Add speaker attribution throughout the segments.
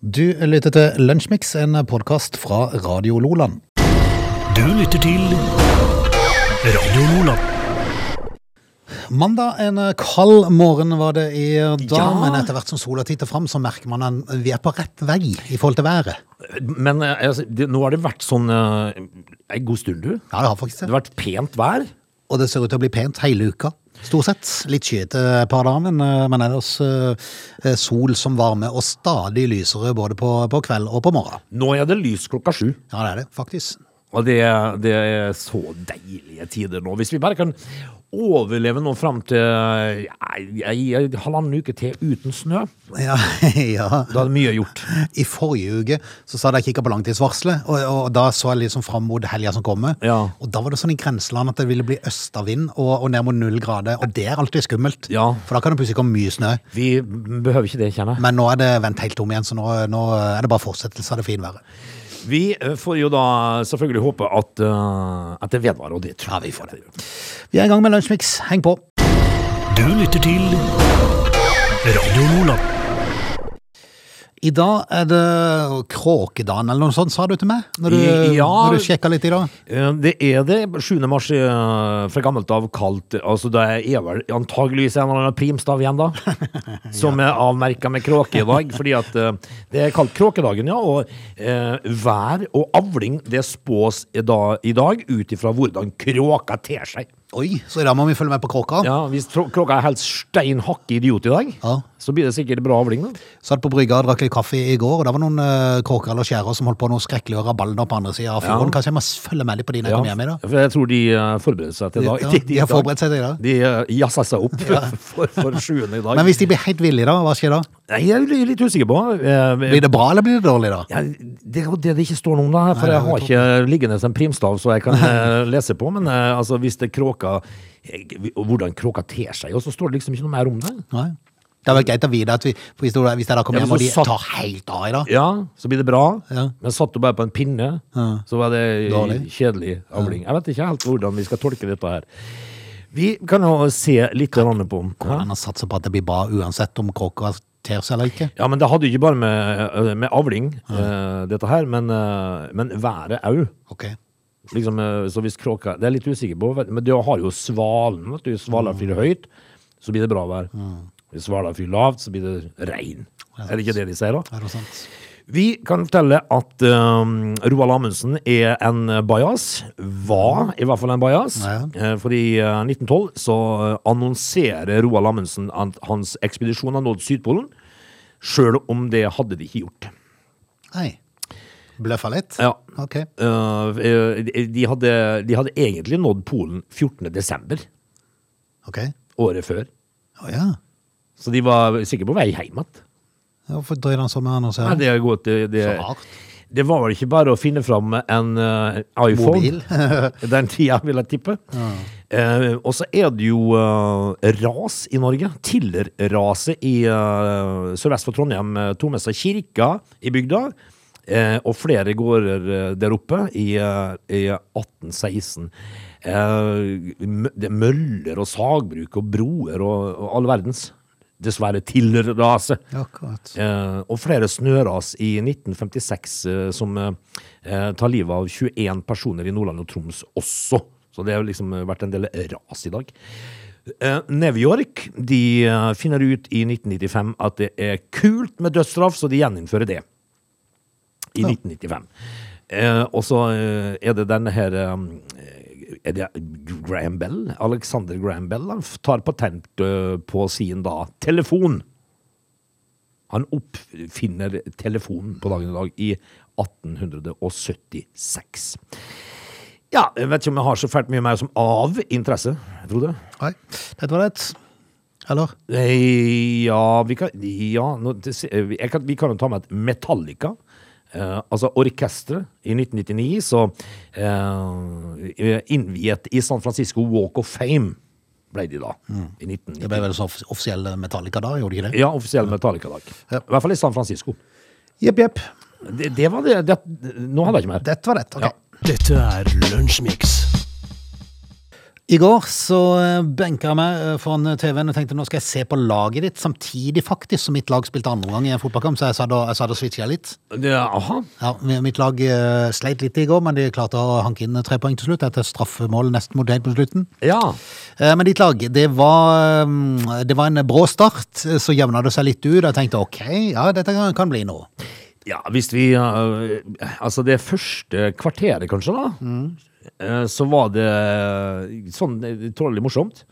Speaker 1: Du lytter til Lunsjmix, en podkast fra Radio Loland.
Speaker 2: Du lytter til Radio Lola.
Speaker 1: Mandag en kald morgen var det i dag,
Speaker 2: Ja.
Speaker 1: men etter hvert som sola titter fram, så merker man en, vi er på rett vei i forhold til været.
Speaker 2: Men eh, altså, det, nå har det vært sånn eh, en god stund, du.
Speaker 1: Ja, det har faktisk
Speaker 2: Det
Speaker 1: det.
Speaker 2: har vært pent vær.
Speaker 1: Og det ser ut til å bli pent hele uka. Stort sett. Litt skyete et par dager, men, eh, men ellers eh, sol som varme og stadig lysere både på, på kveld og på morgen.
Speaker 2: Nå er det lys klokka sju.
Speaker 1: Ja, det er det, faktisk.
Speaker 2: Og det, det er så deilige tider nå. Hvis vi bare kan overleve nå fram til ja, ei- ei- halvannen uke til uten snø,
Speaker 1: Ja, ja.
Speaker 2: da er det mye gjort.
Speaker 1: I forrige uke så sa jeg kikka på langtidsvarselet, og, og da så jeg liksom fram mot helga som kommer.
Speaker 2: Ja.
Speaker 1: Og da var det sånn i grenseland at det ville bli østavind og, og ned mot null grader, og det er alltid skummelt.
Speaker 2: Ja.
Speaker 1: For da kan det plutselig komme mye snø.
Speaker 2: Vi behøver ikke det, kjenner jeg.
Speaker 1: Men nå er det vendt helt om igjen, så nå, nå er det bare fortsettelse av det finværet.
Speaker 2: Vi eh, får jo da selvfølgelig håpe at, eh, at det vedvarer, og det tror
Speaker 1: Ja, vi
Speaker 2: jeg vi
Speaker 1: får
Speaker 2: får.
Speaker 1: Vi er i gang med Lunsjmix, heng på.
Speaker 2: Du lytter til Radio Lola.
Speaker 1: I dag er det kråkedagen eller noe sånt, sa du til meg? Når du,
Speaker 2: I- ja.
Speaker 1: når du sjekka litt i dag?
Speaker 2: Eh, Det er det. 7. mars er eh, fra gammelt av kalt altså Det er vel antageligvis en eller annen primstav igjen, da. Som er avmerka med kråke i dag. Fordi at eh, det er kalt kråkedagen, ja. Og eh, vær og avling det spås i dag, i dag ut ifra hvordan kråka ter seg.
Speaker 1: Oi, så i dag må vi følge med på kråka.
Speaker 2: Ja, Hvis trå- kråka er helt stein hakke idiot i dag,
Speaker 1: Ja.
Speaker 2: så blir det sikkert bra avling. da.
Speaker 1: Satt på brygga og drakk litt kaffe i går, og det var noen eh, kråker eller skjærer som holdt på noe skrekkelig og rabalder på andre sida av fjorden.
Speaker 2: Ja.
Speaker 1: Kanskje jeg må følge med litt på de når jeg
Speaker 2: Ja,
Speaker 1: kommer hjem i dag?
Speaker 2: for jeg tror de eh, forbereder seg til i dag.
Speaker 1: Ja, de har forberedt seg til i dag.
Speaker 2: De eh, jazza seg opp for, for sjuende i dag.
Speaker 1: Men hvis de blir helt ville, da, hva skjer da?
Speaker 2: Nei, jeg er litt usikker på. Eh,
Speaker 1: Blir det bra, eller blir det dårlig da?
Speaker 2: Ja, det er jo det det ikke står noe om, da. For
Speaker 1: Nei,
Speaker 2: jeg har
Speaker 1: det
Speaker 2: ikke liggende en primstav så jeg kan eh, lese på. Men eh, altså, hvis det kråka eh, Hvordan kråka ter seg, og så står det liksom ikke noe mer om det.
Speaker 1: Nei. Det er vel greit å vite at vi, for hvis, det, hvis jeg da kommer
Speaker 2: Ja,
Speaker 1: hjem
Speaker 2: men
Speaker 1: og de
Speaker 2: så satt-
Speaker 1: tar helt av i dag
Speaker 2: Ja, så blir det bra.
Speaker 1: Ja.
Speaker 2: Men satt du bare på en pinne, så var det
Speaker 1: Dårlig.
Speaker 2: kjedelig avling. Jeg vet ikke helt hvordan vi skal tolke dette her. Vi kan jo se litt grann på Hæ?
Speaker 1: Hvordan å satse på at det blir bra uansett om kråka ter seg eller ikke?
Speaker 2: Ja, men det hadde jo ikke bare med, med avling, eh, dette her, men, eh, men været òg.
Speaker 1: Ok.
Speaker 2: Liksom, eh, så hvis kråka Det er jeg litt usikker på, vet- men du har jo svalen. Vet du. Svaler flyr høyt, så blir det bra vær. Hvis svaler flyr lavt, så blir det regn. Er det ikke det de sier, da?
Speaker 1: Er det sant?
Speaker 2: Vi kan fortelle at um, Roald Amundsen er en bajas. Var i hvert fall en bajas.
Speaker 1: Ja,
Speaker 2: Eh, For i eh, 1912 så eh, annonserer Roald Amundsen at hans ekspedisjon har nådd Sydpolen. Sjøl om det hadde de ikke gjort.
Speaker 1: Nei. Bløffa litt?
Speaker 2: Ja.
Speaker 1: Ok.
Speaker 2: Eh, eh, de- de, hadde, de hadde egentlig nådd Polen 14. desember.
Speaker 1: Ok.
Speaker 2: året før.
Speaker 1: Å ja.
Speaker 2: Så de var sikkert på vei hjem igjen.
Speaker 1: Hvorfor drøyer han så med han og
Speaker 2: Nei,
Speaker 1: ser?
Speaker 2: Det, er godt, det, det,
Speaker 1: Så rart.
Speaker 2: det var vel ikke bare å finne fram en eh, iPhone.
Speaker 1: Mobil?
Speaker 2: den tida, vil jeg tippe. Eh, og så er det jo eh, ras i Norge. Tiller-raset i eh, sørvest for Trondheim eh, tok med seg kirka i bygda. eh, og flere gårder eh, der oppe i, eh, i 1816. Eh, mø- det er møller og sagbruk og broer og, og all verdens. Dessverre Tiller-raset.
Speaker 1: Akkurat.
Speaker 2: Eh, og flere snøras i 1956 eh, som eh, eh, tar livet av 21 personer i Nordland og Troms også. Så det har liksom eh, vært en del ras i dag. Eh, New York de eh, finner ut i 1995 at det er kult med dødsstraff, så de gjeninnfører det i 1995. Eh, og så eh, er det denne her eh, Er det Graham Bell? Alexander Graham Bell han f- tar patent eh, på sin da telefon. Han oppfinner telefonen på dagen i dag i 1876. Ja, jeg vet ikke om jeg har så fælt mye mer som av interesse, Frode.
Speaker 1: Nei. Dette var det. Eller?
Speaker 2: Eh, Ja, vi kan, ja nå, det se- eh, jeg kan, vi kan jo ta med et Metallica. Eh, altså orkestret i 1999, så eh, innviet i San Francisco Walk of Fame ble de da. I 1999.
Speaker 1: Mm. Det ble vel så off- offisiell eh, Metallica da, gjorde det ikke det?
Speaker 2: Ja, offisiell Metallica-dag.
Speaker 1: Ja.
Speaker 2: I hvert fall i San Francisco.
Speaker 1: Jepp, jepp.
Speaker 2: Det, det var det, det. Nå hadde jeg ikke mer.
Speaker 1: Dette var det. ok.
Speaker 2: Ja.
Speaker 3: Dette er Lunsjmix.
Speaker 1: I går så eh, benka jeg meg eh, foran TV-en og tenkte nå skal jeg se på laget ditt, samtidig faktisk som mitt lag spilte andre gang i en fotballkamp, så jeg sa da, jeg sa da switcha jeg litt.
Speaker 2: Ja, aha.
Speaker 1: Ja, Mitt lag eh, sleit litt i går, men de klarte å hanke inn eh, tre poeng til slutt etter straffemål nesten mot helt på slutten.
Speaker 2: Ja.
Speaker 1: Eh, Men ditt lag, det var, mm, det var en brå start, eh, så jevna det seg litt ut. og Jeg tenkte ok, ja, dette kan- kan bli noe.
Speaker 2: Ja, hvis vi eh, Altså, det første kvarteret, kanskje, da,
Speaker 1: Mm.
Speaker 2: eh, så var det sånn eh, tålelig morsomt.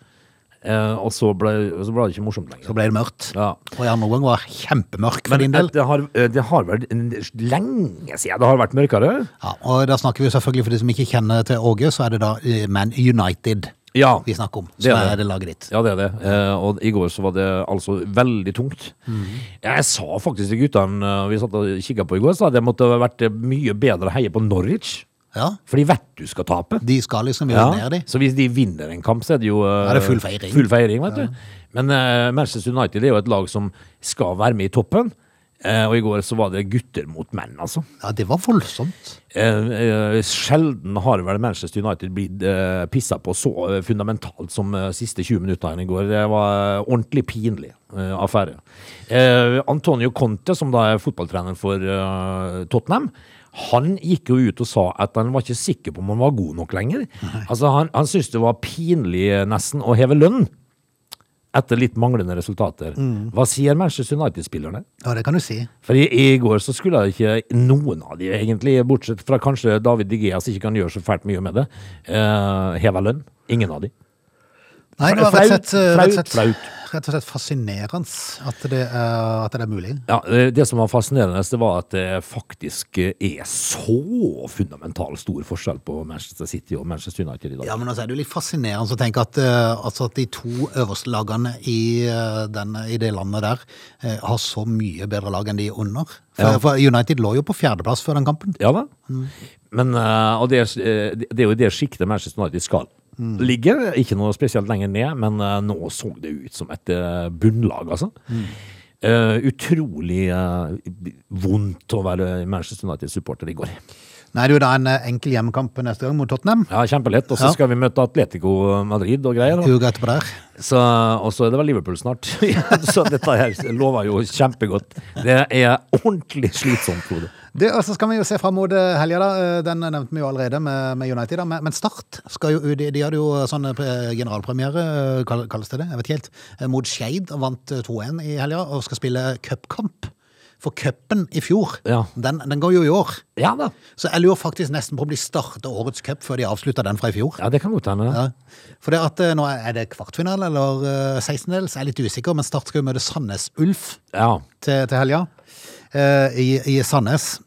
Speaker 2: Eh, og så ble, så ble det ikke morsomt lenger.
Speaker 1: Så ble det mørkt.
Speaker 2: Ja.
Speaker 1: Og i andre omgang var kjempemørkt for
Speaker 2: Men
Speaker 1: din del.
Speaker 2: det har, eh, det har vært en- lenge siden det har vært mørkere.
Speaker 1: Ja, og da snakker vi jo selvfølgelig for de som ikke kjenner til Åge, så er det da eh, Man United
Speaker 2: Ja.
Speaker 1: vi snakker om.
Speaker 2: Det
Speaker 1: Som
Speaker 2: er det.
Speaker 1: er det laget ditt.
Speaker 2: Ja, det er det. Eh, og i går så var det altså veldig tungt.
Speaker 1: Mm.
Speaker 2: Jeg sa faktisk til guttene eh, vi satt og kikka på i går, sa at det måtte ha vært eh, mye bedre å heie på Norwich.
Speaker 1: Ja,
Speaker 2: For de vet du skal tape.
Speaker 1: De skal liksom gjøre
Speaker 2: Ja,
Speaker 1: ned de.
Speaker 2: Så hvis de vinner en kamp, så er det jo eh,
Speaker 1: Da er det full feiring.
Speaker 2: Full feiring, vet du. Men eh, Manchester United er jo et lag som skal være med i toppen. Eh, og i går så var det gutter mot menn, altså.
Speaker 1: Ja, det var voldsomt.
Speaker 2: Eh, eh, sjelden har vel Manchester United blitt eh, pissa på så eh, fundamentalt som eh, siste 20 minuttene i går. Det var ordentlig pinlig eh, affære. Eh, Antonio Conte, som da er fotballtrener for eh, Tottenham, han gikk jo ut og sa at han var ikke sikker på om han var god nok lenger. Altså, han, han syntes det var pinlig eh, nesten å heve lønn etter litt manglende resultater. Hva sier Manchester United-spillerne?
Speaker 1: Ja, det kan du si.
Speaker 2: For i, i går så skulle jeg ikke noen av de egentlig, bortsett fra kanskje David De Gea, som ikke kan gjøre så fælt mye med det, uh, heva lønn. Ingen av de.
Speaker 1: Nei, det var rett og slett, eh,
Speaker 2: Flaut,
Speaker 1: rett og slett,
Speaker 2: flaut,
Speaker 1: rett og slett fascinerende at det, er, at det er mulig.
Speaker 2: Ja, eh, Det som var fascinerende, det var at det faktisk eh, er så fundamental stor forskjell på Manchester City og Manchester United i dag.
Speaker 1: Ja, men altså er det jo litt fascinerende å tenke at, eh, altså at de to øverste lagene i, eh, den, i det landet der eh, har så mye bedre lag enn de under. For,
Speaker 2: Ja.
Speaker 1: for United lå jo på fjerdeplass før den kampen.
Speaker 2: Ja da. Men, eh, og det, er, eh, det er jo i det sjiktet Manchester United skal ligge. Ikke noe spesielt lenger ned, men eh, nå så det ut som et eh, bunnlag, altså. Eh, utrolig eh, vondt å være Manchester United-supporter i går.
Speaker 1: Nei, det er jo da en eh, enkel hjemmekamp neste gang mot Tottenham.
Speaker 2: Ja, Kjempelett. Og så
Speaker 1: Ja.
Speaker 2: skal vi møte Atletico Madrid og greier. da.
Speaker 1: Uka etterpå der.
Speaker 2: Så, og så er det vel Liverpool snart. så dette her lover jo kjempegodt. Det er ordentlig slitsomt, Frode.
Speaker 1: Det, og så skal vi jo se fram mot eh, helga, da. Eh, Den nevnte vi jo allerede med, med United. da. Men men Start skal jo ut. De de hadde jo sånn eh, pre- generalpremiere, eh, kall- kalles det det, jeg vet ikke helt, eh, mot Skeid. og Vant eh, 2-1 i helga og skal spille cupkamp. For cupen i fjor,
Speaker 2: Ja.
Speaker 1: den, den går jo i år.
Speaker 2: Ja da.
Speaker 1: Så jeg lurer faktisk nesten på om de starter årets cup før de avslutter den fra i fjor.
Speaker 2: Ja, det kan godt hende.
Speaker 1: Ja. For det at eh, nå er det kvartfinale eller eh, 16-dels, jeg er litt usikker, men Start skal jo møte Sandnes Ulf
Speaker 2: Ja.
Speaker 1: til, til helga. eh, I, I Sandnes.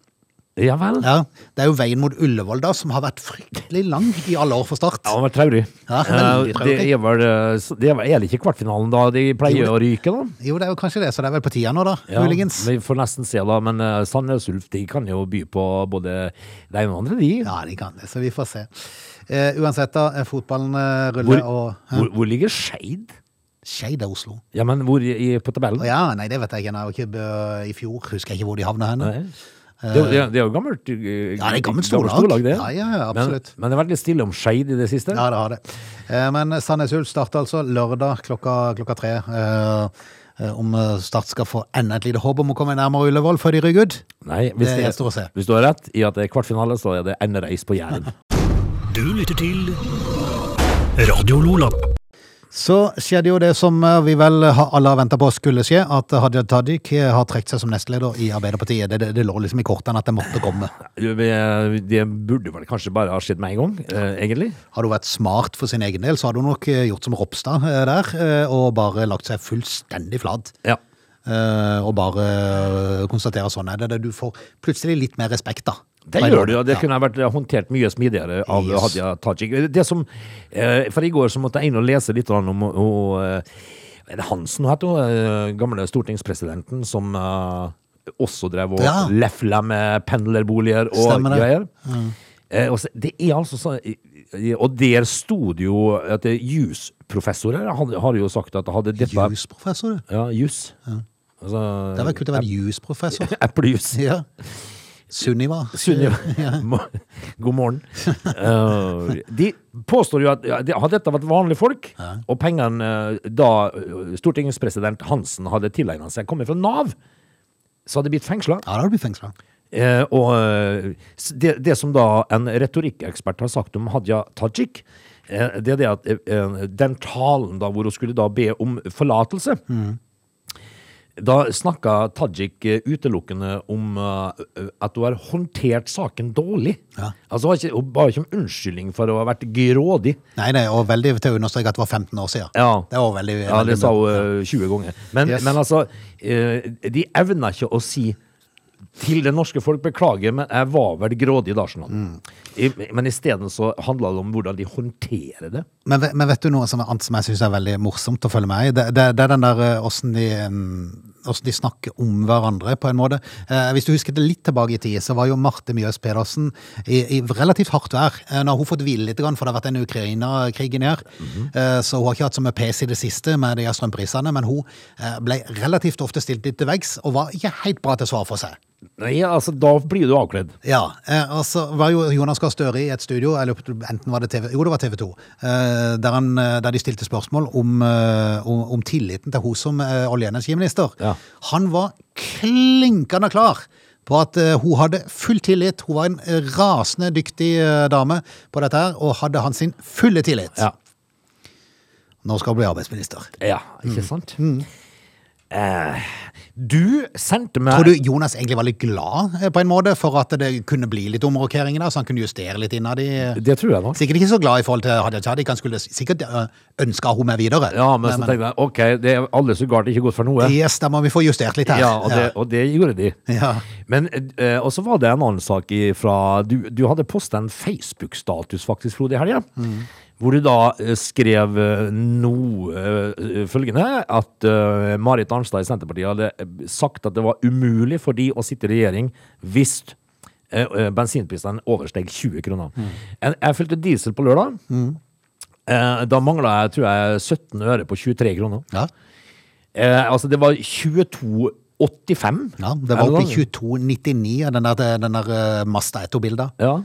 Speaker 2: ja vel.
Speaker 1: Ja, Det er jo veien mot Ullevål da, som har vært fryktelig lang i alle år for Start.
Speaker 2: Ja, han var traurig.
Speaker 1: Ja, veldig
Speaker 2: Eh,
Speaker 1: traurig.
Speaker 2: Det er vel eh, så det er vel- er det ikke kvartfinalen, da? De pleier å ryke, da.
Speaker 1: Jo, det er jo kanskje det, så det er vel på tida nå, da.
Speaker 2: Ja,
Speaker 1: muligens.
Speaker 2: Vi får nesten se, da. Men eh, Sandnes Ulf de kan jo by på både det ene og det andre, de.
Speaker 1: Ja, de kan det, så vi får se. Eh, uansett, da. eh, Fotballen eh, ruller,
Speaker 2: Hvor,
Speaker 1: og
Speaker 2: hvor, hvor ligger Skeid?
Speaker 1: Skeid er Oslo.
Speaker 2: Ja, men hvor i, i- på
Speaker 1: Å
Speaker 2: tabellen?
Speaker 1: ja, nei, det vet jeg ikke. Nei, jeg var ikke bø- I fjor husker jeg ikke hvor de havna hen.
Speaker 2: Nei. Det, er jo- det, er- det er jo gammelt eh,
Speaker 1: Ja, det er gammelt storlag.
Speaker 2: det.
Speaker 1: Ja, ja, ja, absolutt.
Speaker 2: Men, men det har vært litt stille om Skeid i det siste.
Speaker 1: Ja, det har det. Eh, men Sandnes Ulf starter altså lørdag klokka, klokka tre. Eh, eh, om eh, Start skal få enda et lite håp om å komme nærmere Ullevål før de rygger ut.
Speaker 2: Nei, hvis,
Speaker 1: Det
Speaker 2: det
Speaker 1: gjenstår å se.
Speaker 2: hvis du har rett i at det er kvartfinale, så er det endereis på Jæren.
Speaker 3: Du lytter til Radio Lola.
Speaker 1: Så skjedde jo det som eh, vi vel har- alle har venta på skulle skje, at Hadia Tajik eh, har trukket seg som nestleder i Arbeiderpartiet. Det, det, det lå liksom i kortene at det måtte komme.
Speaker 2: eh, Det burde vel kanskje bare ha skjedd med en gang, eh, egentlig.
Speaker 1: Hadde hun vært smart for sin egen del, så hadde hun nok eh, gjort som Ropstad eh, der, eh, og bare lagt seg fullstendig flat.
Speaker 2: Ja.
Speaker 1: Eh, Og bare eh, konstatere sånn er det. det. Du får plutselig litt mer respekt, da.
Speaker 2: Det gjør det, og det kunne ha vært eh, håndtert mye smidigere av
Speaker 1: Yes.
Speaker 2: Hadia Tajik. Det som, eh, for i går så måtte jeg inn og lese litt grann om og, er det Hansen hun heter, hun, eh, gamle stortingspresidenten, som eh, også drev og
Speaker 1: Ja.
Speaker 2: lefla med pendlerboliger og
Speaker 1: Stemmer det.
Speaker 2: greier. Eh, og så- det er altså sånn eh, Og der sto det jo at det- jusprofessorer har, har jo sagt at hadde dette
Speaker 1: Ja. Jusprofessor, du.
Speaker 2: Ja, jus. Altså,
Speaker 1: Det hadde vært kult å være jusprofessor.
Speaker 2: Eplejus.
Speaker 1: Ja. Sunniva.
Speaker 2: Sunniva. Mo- God morgen. Eh, de påstår jo at ja, de- hadde dette vært vanlige folk, og pengene eh, da eh, Stortingets president Hansen hadde tilegnet seg, kommet fra Nav, så hadde de blitt fengsla.
Speaker 1: Ja, da hadde du blitt fengsla.
Speaker 2: Eh, og eh, s- det, det som da en retorikkekspert har sagt om Hadia Tajik, eh, det er det at eh, den talen da hvor hun skulle da be om forlatelse Da snakka Tajik eh, utelukkende om eh, at hun har håndtert saken dårlig.
Speaker 1: Ja.
Speaker 2: Altså, hun har ikke- hun ba ikke om unnskyldning for å ha vært grådig.
Speaker 1: Nei, nei, og veldig til å understreke at det var 15 år siden.
Speaker 2: Ja.
Speaker 1: Det var veldig,
Speaker 2: Ja, det
Speaker 1: veldig
Speaker 2: sa hun eh, 20 ganger. Men,
Speaker 1: Yes.
Speaker 2: men altså, eh, de evner ikke å si til det norske folk beklager, men jeg var vel grådig da, sånn. I, men isteden så handla det om hvordan de håndterer det.
Speaker 1: Men, ve- men vet du noe som, er annet som jeg syns er veldig morsomt å følge med i? Det, det, det er den der eh, åssen de, eh, hvordan de snakker om hverandre, på en måte. Eh, hvis du husker det litt tilbake i tid, så var jo Marte Mjøs Pedersen i, i relativt hardt vær. Eh, nå har hun fått hvile litt, grann, for det har vært en Ukraina-krig inni her.
Speaker 2: Mhm.
Speaker 1: Eh, så hun har ikke hatt så mye pes i det siste med de her strømprisene, men hun eh, ble relativt ofte stilt litt til veggs, og var ikke helt bra til svar for seg.
Speaker 2: Nei, altså, da blir du avkledd.
Speaker 1: Ja, eh, og så var jo Jonas Gahr Støre i et studio, eller enten var det TV, jo det var TV 2, eh, der, han, eh, der de stilte spørsmål om, eh, om, om tilliten til hun som eh, olje- og energiminister.
Speaker 2: Ja.
Speaker 1: Han var klinkende klar på at eh, hun hadde full tillit, hun var en eh, rasende dyktig eh, dame på dette her, og hadde han sin fulle tillit.
Speaker 2: Ja,
Speaker 1: Nå skal hun bli arbeidsminister.
Speaker 2: ja ikke sant? Eh, du sendte meg
Speaker 1: Tror du Jonas egentlig var litt glad eh, på en måte for at det kunne bli litt omrokeringer der, så han kunne justere litt innad i eh,
Speaker 2: Det tror jeg nok.
Speaker 1: Sikkert ikke så glad i forhold til Hadia Tajik. Han skulle sikkert øh, ønske hun med videre.
Speaker 2: Ja, men så
Speaker 1: Men-
Speaker 2: tenkte jeg ok, det er alle så galt ikke godt for noe.
Speaker 1: Yes, da må vi få justert litt her.
Speaker 2: Ja, og det, og det gjorde de.
Speaker 1: Ja.
Speaker 2: Men, eh, og så var det en annen sak ifra Du, du hadde posta en Facebook-status faktisk, Frode, i helga.
Speaker 1: Mm.
Speaker 2: Hvor du da eh, skrev eh, noe eh, følgende At eh, Marit Arnstad i Senterpartiet hadde eh, sagt at det var umulig for de å sitte i regjering hvis eh, eh, bensinprisene oversteg 20 kroner.
Speaker 1: Mm.
Speaker 2: En, jeg fylte diesel på lørdag. Eh, da mangla jeg tror jeg 17 øre på 23 kroner.
Speaker 1: Ja.
Speaker 2: Eh, altså, det var 22,85.
Speaker 1: ja, det var
Speaker 2: Eller
Speaker 1: oppe
Speaker 2: noe.
Speaker 1: i 2299 av den der, den der øh, Mazda 1-bildet.
Speaker 2: Ja.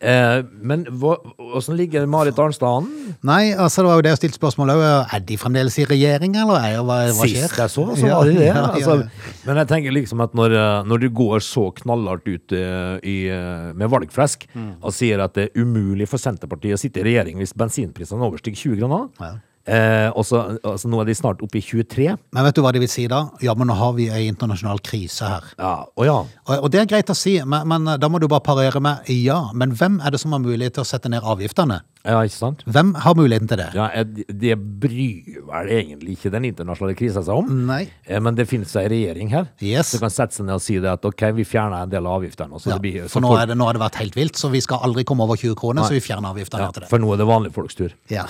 Speaker 2: Eh, men hva, hvordan ligger Marit Arnstad an?
Speaker 1: Nei, altså det var jo det å stille spørsmål òg. Er de fremdeles i regjering, eller er hva, Eh, hva skjer?
Speaker 2: Sist jeg så, så
Speaker 1: Ja,
Speaker 2: var det det.
Speaker 1: ja, ja,
Speaker 2: altså,
Speaker 1: ja.
Speaker 2: Men jeg tenker liksom at når, eh, når du går så knallhardt ut eh, i, eh, med valgflesk
Speaker 1: Mm.
Speaker 2: og sier at det er umulig for Senterpartiet å sitte i regjering hvis bensinprisene overstiger 20 kroner,
Speaker 1: Ja.
Speaker 2: eh, og så altså, nå er de snart oppe i 23
Speaker 1: Men vet du hva de vil si da? Ja, men nå har vi ei internasjonal krise her.
Speaker 2: ja, Å ja.
Speaker 1: Og, og det er greit å si, men, men eh, da må du bare parere med ja. Men hvem er det som har mulighet til å sette ned avgiftene?
Speaker 2: ja, ikke sant?
Speaker 1: Hvem har muligheten til det?
Speaker 2: Ja, eh, Det bryr vel egentlig ikke den internasjonale krisa seg om.
Speaker 1: Nei.
Speaker 2: Eh, Men det finnes ei regjering her
Speaker 1: Yes.
Speaker 2: som kan sette seg ned og si det at ok, vi fjerner en del av avgiftene. og Så
Speaker 1: Ja,
Speaker 2: det blir,
Speaker 1: for
Speaker 2: så
Speaker 1: nå,
Speaker 2: folk-
Speaker 1: er det, nå har det vært helt vilt, så vi skal aldri komme over 20 kroner, så vi fjerner avgiften
Speaker 2: ja,
Speaker 1: her til det.
Speaker 2: for nå er det vanlige folks tur.
Speaker 1: Ja.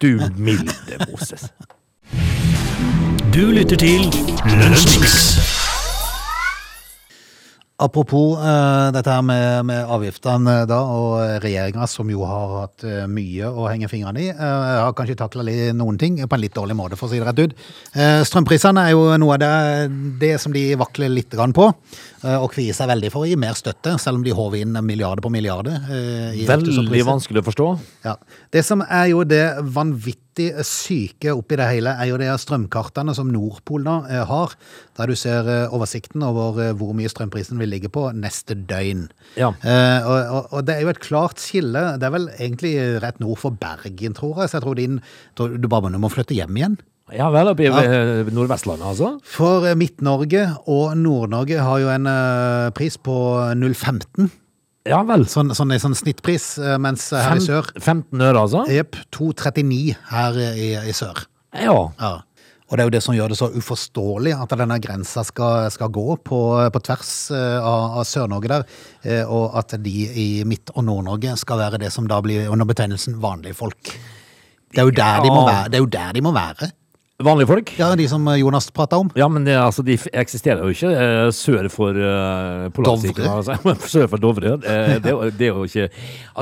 Speaker 2: Du milde Moses.
Speaker 3: Du lytter til Lunsjmix.
Speaker 1: Apropos eh, dette her med, med avgiftene eh, da, og regjeringa, som jo har hatt eh, mye å henge fingrene i, eh, har kanskje takla noen ting på en litt dårlig måte, for å si det rett ut. Uh, strømprisene er jo noe av det, det som de vakler litt grann på, eh, og kvier seg veldig for å gi mer støtte, selv om de håver inn milliarder på milliarder. eh, i økte
Speaker 2: Veldig
Speaker 1: strømpriser.
Speaker 2: vanskelig å forstå.
Speaker 1: Ja. Det som er jo det vanvittig eh, syke oppi det hele, er jo de her strømkartene som Nordpol nå eh, har, der du ser eh, oversikten over eh, hvor mye strømprisen vil ligge på neste døgn.
Speaker 2: Ja.
Speaker 1: Eh, og, og, og det er jo et klart skille. Det er vel egentlig rett nord for Bergen, tror jeg. Så jeg tror din tror Du bare må- må flytte hjem igjen.
Speaker 2: Ja vel, oppe i eh, Nordvestlandet, altså.
Speaker 1: For eh, Midt-Norge og Nord-Norge har jo en eh, pris på 0,15.
Speaker 2: Ja vel.
Speaker 1: Sånn, sånn, en sånn snittpris, eh, mens her
Speaker 2: Fem,
Speaker 1: i sør
Speaker 2: 15 øre, altså?
Speaker 1: Jepp. 2,39 her eh, i, i sør.
Speaker 2: Ja.
Speaker 1: Ja. Og det er jo det som gjør det så uforståelig at denne grensa skal, skal gå på, på tvers eh, av, av Sør-Norge der, eh, og at de i Midt- og Nord-Norge skal være det som da blir under betegnelsen vanlige folk. Det er jo der, de, må
Speaker 2: Ja.
Speaker 1: være, det er jo der de må være.
Speaker 2: Vanlige folk?
Speaker 1: Ja, de som Jonas prata om.
Speaker 2: Ja, men det, altså, de f- eksisterer jo ikke eh, sør for eh, Polarsirkelen. Altså. Sør for Dovre. Eh, det, er jo- det er jo ikke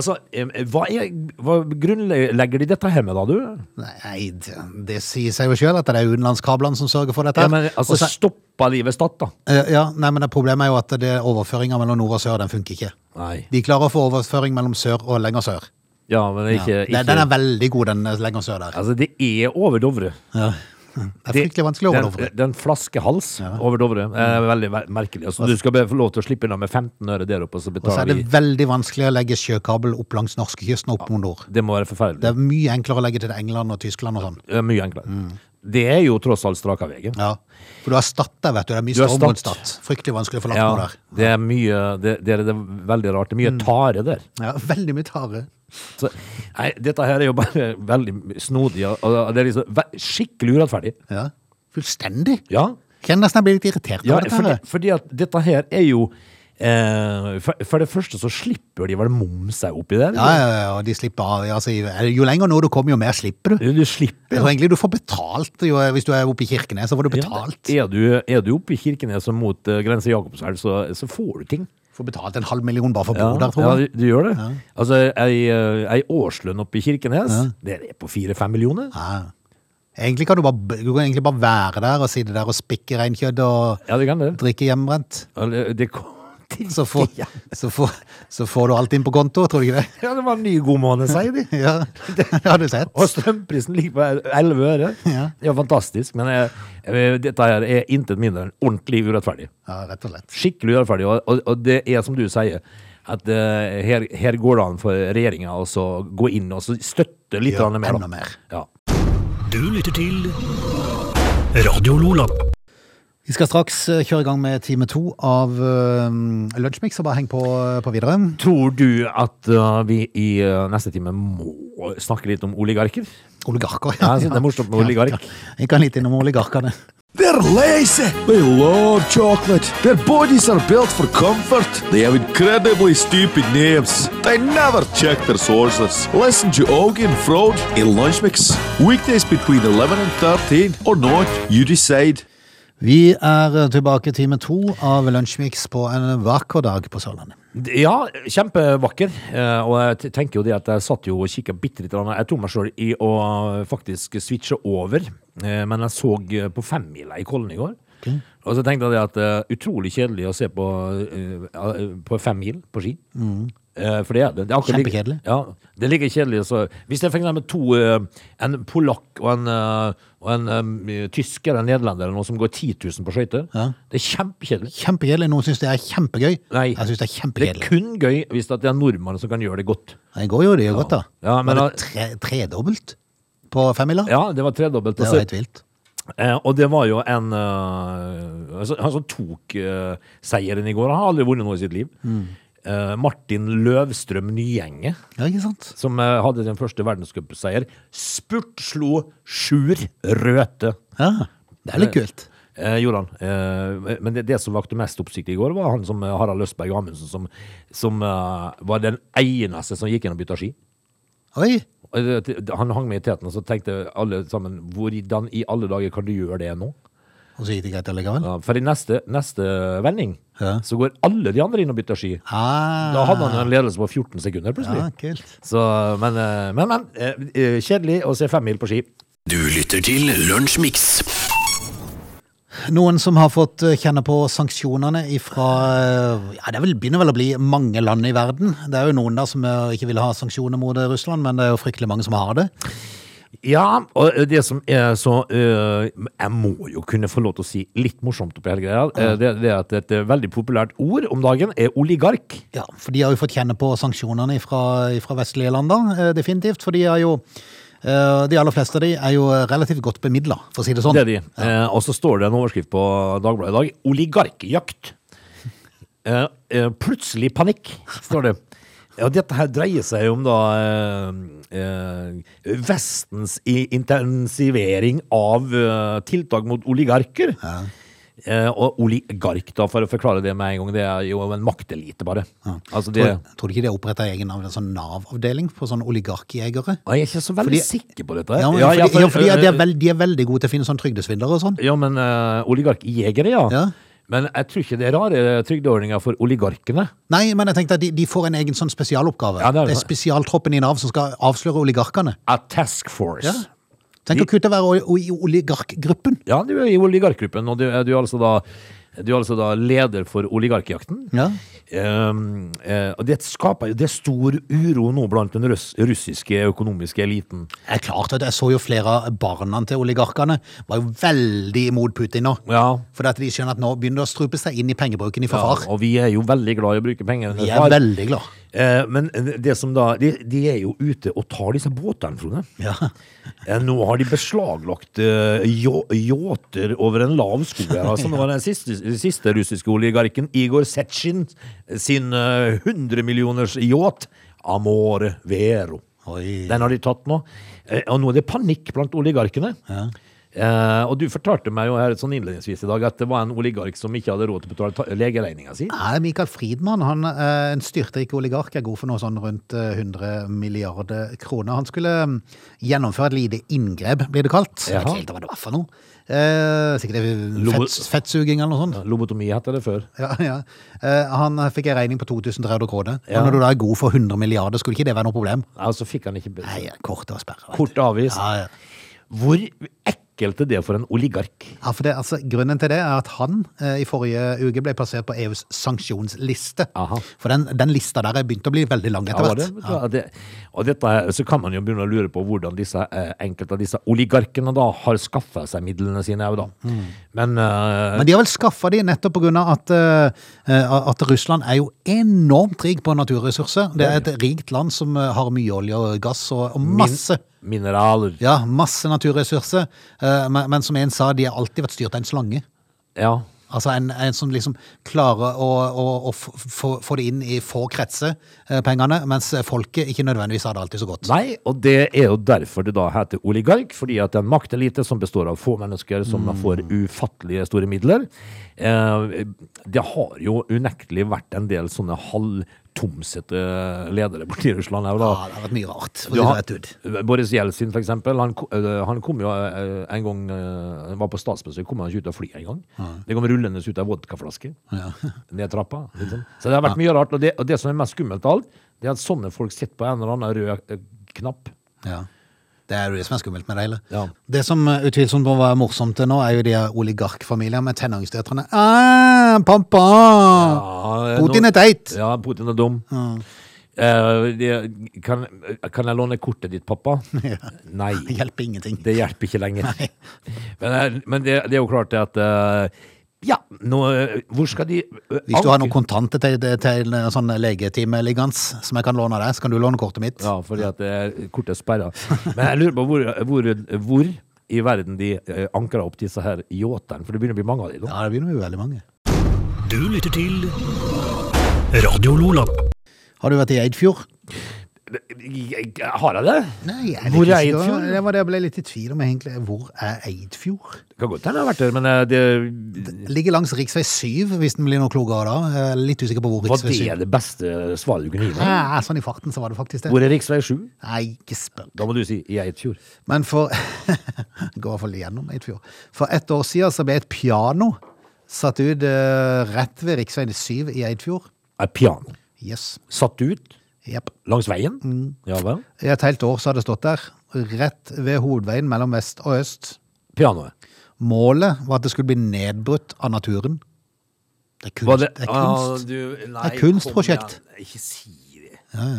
Speaker 2: Altså, eh, hva, er, hva grunnlegger de dette her med, da, du?
Speaker 1: Nei, det, det sier seg jo sjøl at det er utenlandskablene som sørger for dette.
Speaker 2: Ja,
Speaker 1: her.
Speaker 2: men, altså,
Speaker 1: Og så-
Speaker 2: Stoppa livet Stad, da?
Speaker 1: Eh, ja, nei, men det Problemet er jo at det overføringa mellom nord og sør den funker ikke.
Speaker 2: Nei.
Speaker 1: De klarer å få overføring mellom sør og lenger sør.
Speaker 2: Ja, men
Speaker 1: Ja.
Speaker 2: ikke,
Speaker 1: Den- Den er
Speaker 2: ikke
Speaker 1: veldig god, den eh, lenger sør der.
Speaker 2: Altså, det er over Dovre.
Speaker 1: Ja. Det er fryktelig vanskelig å overdovre. Mm.
Speaker 2: Den, den flaskehals over Dovre. Eh, veldig ver- merkelig. Altså, du skal be- få lov til å slippe unna med 15 øre der oppe, og så
Speaker 1: Og så er
Speaker 2: betaler
Speaker 1: det
Speaker 2: vi
Speaker 1: veldig vanskelig å legge sjøkabel opp langs norskekysten og opp mot nord.
Speaker 2: Det må være
Speaker 1: Det
Speaker 2: forferdelig.
Speaker 1: er mye enklere å legge til England og Tyskland og sånn.
Speaker 2: Det er mye enklere. Det er jo tross alt straka veien.
Speaker 1: Ja. For du har Stad der, vet du. Det er mye
Speaker 2: Du har
Speaker 1: strøm rundt
Speaker 2: Stad.
Speaker 1: Stad. Fryktelig vanskelig å få lagt
Speaker 2: Ja,
Speaker 1: noe der.
Speaker 2: det er mye det, det er det veldig rart. Det er mye
Speaker 1: Mm.
Speaker 2: tare der.
Speaker 1: Ja, veldig mye tare.
Speaker 2: Så, nei, dette her er jo bare veldig snodig. og- Og det er liksom ve- skikkelig urettferdig.
Speaker 1: Ja. Fullstendig.
Speaker 2: Ja,
Speaker 1: Kjenner nesten jeg blir litt irritert
Speaker 2: ja
Speaker 1: av dette.
Speaker 2: fordi,
Speaker 1: her.
Speaker 2: fordi at dette her er jo eh, for, for det første så slipper de vel momsa oppi der.
Speaker 1: Ja, ja, ja, og de slipper av. Altså, jo lenger nå du kommer, jo mer slipper du.
Speaker 2: Du du slipper.
Speaker 1: Så egentlig du får betalt jo, hvis du er oppe i Kirkenes, så får du betalt.
Speaker 2: Ja, er, du, er du oppe i Kirkenes og mot uh, grensa Jakobselv, så, så får du ting.
Speaker 1: Får betalt en halv million bare for å
Speaker 2: Ja,
Speaker 1: bo der, tror
Speaker 2: ja,
Speaker 1: jeg.
Speaker 2: du, du gjør det. Altså, ei, eh, ei årslønn oppe i Kirkenes, det er på fire-fem millioner.
Speaker 1: Ja. Ah. Egentlig kan du bare, b- du kan egentlig bare være der og sitte der og spikke reinkjøtt og
Speaker 2: Ja, det kan det.
Speaker 1: drikke hjemmebrent.
Speaker 2: Eller, det kom til
Speaker 1: Så får,
Speaker 2: ikke-
Speaker 1: så, får, så får du alt inn på konto, tror du ikke det?
Speaker 2: Ja, det var en ny god måned, sier de.
Speaker 1: Ja, det har du sett.
Speaker 2: Og strømprisen ligger på 11 øre.
Speaker 1: Ja.
Speaker 2: Det er jo fantastisk, men jeg, jeg, dette her er intet mindre enn ordentlig urettferdig.
Speaker 1: Ja, rett og slett.
Speaker 2: Skikkelig urettferdig, og, og, og det er som du sier, at eh, her, her går det an for regjeringa å så gå inn og så støtte litt
Speaker 1: Ja,
Speaker 2: grann mer. da.
Speaker 1: enda mer.
Speaker 2: Ja.
Speaker 3: Du lytter til Radio Lola.
Speaker 1: Vi skal straks eh, kjøre i gang med time to av uh, Lunsjmix, og bare heng på, eh, på videre.
Speaker 2: Tror du at eh, vi i eh, neste time må snakke litt om oligarker?
Speaker 1: Oligarker,
Speaker 2: Ja, jeg synes det er morsomt med oligark.
Speaker 1: Jeg kan litt innom oligarkene.
Speaker 4: They're lazy. They love chocolate. Their bodies are built for comfort. They have incredibly stupid names. They never check their sources. Listen to Augie and Frode in Lunch Mix. Weekdays between 11 and 13 or not, you decide.
Speaker 1: Vi er eh, tilbake i time to av Lunsjmix på en vakker dag på Sørlandet.
Speaker 2: Ja, kjempevakker. Eh, Og jeg t- tenker jo det at jeg satt jo og kikka bitte litt. Jeg tok meg sjøl i å faktisk switche over, Eh, men jeg så eh, på femmila i Kollen i går. Og så tenkte jeg det at eh, utrolig kjedelig å se på, eh, eh, på femmil på ski. Eh, For det er det. det er akkurat like-
Speaker 1: Kjempekjedelig.
Speaker 2: Ja, det er like kjedelig. Så hvis det er for eksempel to, eh, en polakk og en, eh, og en eh, tysker eller nederlender eller noe som går 10 000 på skøyter, det er kjempekjedelig.
Speaker 1: Kjempekjedelig. Noen syns det er kjempegøy.
Speaker 2: Nei.
Speaker 1: Jeg syns det er
Speaker 2: Det er
Speaker 1: kjempekjedelig.
Speaker 2: kun gøy hvis det er nordmannen som kan gjøre det godt.
Speaker 1: Det går jo, det gjør godt, da.
Speaker 2: Ja, men
Speaker 1: Var
Speaker 2: da-
Speaker 1: det tre, tredobbelt på femmila?
Speaker 2: Ja, det var tredobbelt.
Speaker 1: Det
Speaker 2: Og så-
Speaker 1: var helt vilt.
Speaker 2: eh, og det var jo en eh, altså, Han som tok eh, seieren i går, han har aldri vunnet noe i sitt liv. Eh, Martin Løvstrøm Nyenge,
Speaker 1: Ja, ikke sant?
Speaker 2: som eh, hadde sin første verdenscupseier. Spurtslo Sjur Røthe.
Speaker 1: Ja, Det er litt kult.
Speaker 2: Eh, gjorde han. Eh, men det, det som vakte mest oppsikt i går, var han som eh, Harald Østberg Amundsen, som, som eh, var den eneste som gikk inn og bytta ski.
Speaker 1: Oi!
Speaker 2: Og det- det- Han hang med i teten, og så tenkte alle sammen Hvordan i alle dager kan du gjøre det nå?
Speaker 1: Og så gikk det greit allikevel.
Speaker 2: Ja, for i neste, neste vending
Speaker 1: Ja.
Speaker 2: så går alle de andre inn og bytter ski.
Speaker 1: Ah,
Speaker 2: Da hadde han en ledelse på 14 sekunder, plutselig.
Speaker 1: ja, kult.
Speaker 2: Så, men, eh, men, men. eh, eh, Kjedelig å se femmil på ski.
Speaker 3: Du lytter til Lunsjmix.
Speaker 1: Noen som har fått eh, kjenne på sanksjonene ifra eh, ja, Det er vel, begynner vel å bli mange land i verden. Det er jo noen der som eh, ikke vil ha sanksjoner mot eh, Russland, men det er jo fryktelig mange som har det.
Speaker 2: Ja, og det som er så eh, Jeg må jo kunne få lov til å si litt morsomt oppi hele greia. eh, det, det er at et eh, veldig populært ord om dagen er oligark.
Speaker 1: Ja, for de har jo fått kjenne på sanksjonene fra, vestlige land, da, eh, definitivt. For de er jo eh, De aller fleste av de er jo eh, relativt godt bemidla, for å si det sånn.
Speaker 2: Det er de. Eh, og så står det en overskrift på Dagbladet i dag. 'Oligarkjakt'. Eh, eh, plutselig panikk, står det. Ja, dette her dreier seg om da eh, eh, Vestens i- intensivering av eh, tiltak mot oligarker. Eh, og oligark, da, for å forklare det med en gang, det er jo en maktelite, bare. Altså det,
Speaker 1: Tror, tror du ikke de oppretta egen av- en sånn Nav-avdeling for sånne oligarkjegere?
Speaker 2: jeg er ikke så veldig
Speaker 1: Fordi-
Speaker 2: sikker på dette. her.
Speaker 1: Ja, men,
Speaker 2: ja,
Speaker 1: fordi,
Speaker 2: for- eh,
Speaker 1: ja, fordi de, er veld, de er veldig gode til å finne sånn trygdesvindlere og sånn.
Speaker 2: Ja, men eh, oligarkjegere, ja.
Speaker 1: Ja.
Speaker 2: Men jeg tror ikke det er rare eh, trygdeordninger for oligarkene.
Speaker 1: Nei, men jeg tenkte at de, de får en egen sånn spesialoppgave.
Speaker 2: Ja, det
Speaker 1: det,
Speaker 2: er
Speaker 1: er
Speaker 2: det.
Speaker 1: spesialtroppen i Nav som skal avsløre oligarkene.
Speaker 2: A task force.
Speaker 1: Ja. Tenk å kutte være o- o- i oligarkgruppen.
Speaker 2: Ja, du er i oligarkgruppen, og du er, du er, altså, da, du er altså da leder for oligarkjakten.
Speaker 1: Ja.
Speaker 2: Um, eh, og det skaper jo Det er stor uro nå blant den russ, russiske økonomiske eliten.
Speaker 1: Det er klart at jeg så jo flere av barna til oligarkene var jo veldig imot Putin nå.
Speaker 2: Ja.
Speaker 1: Fordi at de skjønner at nå begynner det å strupe seg inn i pengebruken i
Speaker 2: ja,
Speaker 1: for far.
Speaker 2: og vi er jo veldig glad i å bruke penger.
Speaker 1: De er veldig glad.
Speaker 2: Eh, men det som da de, de er jo ute og tar disse båtene, Frode.
Speaker 1: Ja.
Speaker 2: Eh, Nå har de beslaglagt eh, jo- yachter over en lav sko. her, Altså, det var den siste, siste russiske oligarken Igor Setsjin sin eh, 100 millioners yacht Amore Vero.
Speaker 1: Oi.
Speaker 2: Den har de tatt nå. Eh, og nå er det panikk blant oligarkene. Eh, og du fortalte meg jo her sånn innledningsvis i dag at det var en oligark som ikke hadde råd til å betale ta- legeregninga si.
Speaker 1: Nei, Mikael Friedmann, han, eh, en styrtrik oligark, er god for noe sånn rundt eh, 100 milliarder kroner. Han skulle mm, gjennomføre et lite inngrep, blir det kalt. Jeg vet
Speaker 2: Jaha.
Speaker 1: ikke helt hva det var for noe. Eh, sikkert det
Speaker 2: Lobo-
Speaker 1: fett, fettsuging eller noe sånt.
Speaker 2: Lobotomi het det før.
Speaker 1: Ja, ja. Eh, han fikk en regning på 2300 kroner.
Speaker 2: Ja.
Speaker 1: Og når du da er god for 100 milliarder, skulle ikke det være noe problem?
Speaker 2: Ja, så Altså, fikk han ikke be-
Speaker 1: Nei, kort og sperre. vet
Speaker 2: Kort
Speaker 1: du.
Speaker 2: avvist.
Speaker 1: Ja, ja.
Speaker 2: Hvor ekkelt er det for en oligark?
Speaker 1: Ja, for det, altså, grunnen til det er at han eh, i forrige uke ble plassert på EUs sanksjonsliste.
Speaker 2: Aha.
Speaker 1: For den, den lista der er begynt å bli veldig lang etter
Speaker 2: Ja,
Speaker 1: hvert.
Speaker 2: det, vet du, ja, det, og dette, her- så kan man jo begynne å lure på hvordan disse, eh, enkelte av disse oligarkene da har skaffa seg midlene sine. jo Da. Men, eh,
Speaker 1: Mm. Men de har vel skaffa de nettopp pga. At, eh, eh, at Russland er jo enormt rik på naturressurser. Det er et rikt land som eh, har mye olje og gass og, og masse.
Speaker 2: mineraler
Speaker 1: Ja, masse naturressurser. Eh, men, men som en sa, de har alltid vært styrt av en slange.
Speaker 2: ja.
Speaker 1: Altså en, en som liksom klarer å, å, å f- få, få det inn i få kretser, eh, pengene, mens folket ikke nødvendigvis har det alltid så godt.
Speaker 2: Nei, og det er jo derfor det da heter oligark, fordi at det er en maktelite som består av få mennesker som da får
Speaker 1: Mm.
Speaker 2: ufattelige store midler. Eh, det har jo unektelig vært en del sånne halvtomsete eh, ledere borti Russland. her, da.
Speaker 1: Ja, det har vært mye rart. for
Speaker 2: Du
Speaker 1: å
Speaker 2: har-
Speaker 1: si det rett ut.
Speaker 2: Boris Jeltsin, for eksempel. Han, ko- øh, han kom jo øh, en gang øh, Han var på statsbesøk, kom han ikke ut av flyet engang. Det kom rullende ut av vodkaflaske ned trappa. Liksom. Så det har vært mye rart. Og det, og det som er mest skummelt av alt, det er at sånne folk sitter på en eller annen rød øh, knapp.
Speaker 1: Ja. Det er jo det som er skummelt med det hele.
Speaker 2: Ja.
Speaker 1: Det som eh, utvilsomt må være morsomt til nå, er jo de her oligarkfamiliene med tenåringsdøtrene. Ah, pappa!
Speaker 2: Ja,
Speaker 1: Putin
Speaker 2: Ah, nå-
Speaker 1: er teit!
Speaker 2: Ja, Putin er dum. Eh, det, kan, kan jeg låne kortet ditt, pappa? Nei.
Speaker 1: Det hjelper ingenting.
Speaker 2: Det hjelper ikke lenger. Men, eh, men det, det er jo klart det at eh, Ja, nå eh, Hvor skal de
Speaker 1: Hvis du har noen kontanter til, til en sånn legetime liggende som jeg kan låne av deg, så kan du låne kortet mitt.
Speaker 2: Ja, fordi at eh, kortet er sperra. Men jeg lurer på hvor, hvor, hvor i verden de eh, ankrer opp disse her yachtene, for det begynner å bli mange av dem. nå.
Speaker 1: Ja, det begynner jo veldig mange.
Speaker 3: Du lytter til Radio Lola.
Speaker 1: Har du vært i Eidfjord?
Speaker 2: Har jeg det?
Speaker 1: Nei, jeg er litt
Speaker 2: Hvor er
Speaker 1: usikker.
Speaker 2: Eidfjord?
Speaker 1: Det var det jeg ble litt i tvil om egentlig. Hvor er Eidfjord?
Speaker 2: Det kan godt hende jeg har vært der, men eh, det,
Speaker 1: Ligger langs rv. 7, hvis den blir noe klokere da. Jeg er litt usikker på hvor
Speaker 2: var
Speaker 1: rv. 7
Speaker 2: det det beste svaret du kunne gi meg?
Speaker 1: Ja, sånn i farten så var det faktisk det.
Speaker 2: Hvor er rv. 7?
Speaker 1: Nei, ikke spør.
Speaker 2: Da må du si i Eidfjord.
Speaker 1: Men for Gå i hvert fall gjennom Eidfjord. For ett år siden så ble et piano satt ut eh, rett ved rv. 7 i Eidfjord.
Speaker 2: Er piano.
Speaker 1: Yes.
Speaker 2: Satt ut
Speaker 1: Jepp.
Speaker 2: langs veien?
Speaker 1: Mm.
Speaker 2: Ja vel.
Speaker 1: I et helt år så har det stått der. Rett ved hovedveien mellom vest og øst.
Speaker 2: Pianoet.
Speaker 1: Målet var at det skulle bli nedbrutt av naturen. Det er
Speaker 2: Var
Speaker 1: kunst. Det er kunst.
Speaker 2: Ah, du, nei,
Speaker 1: Det er kunstprosjekt.
Speaker 2: kom igjen. Ikke si det.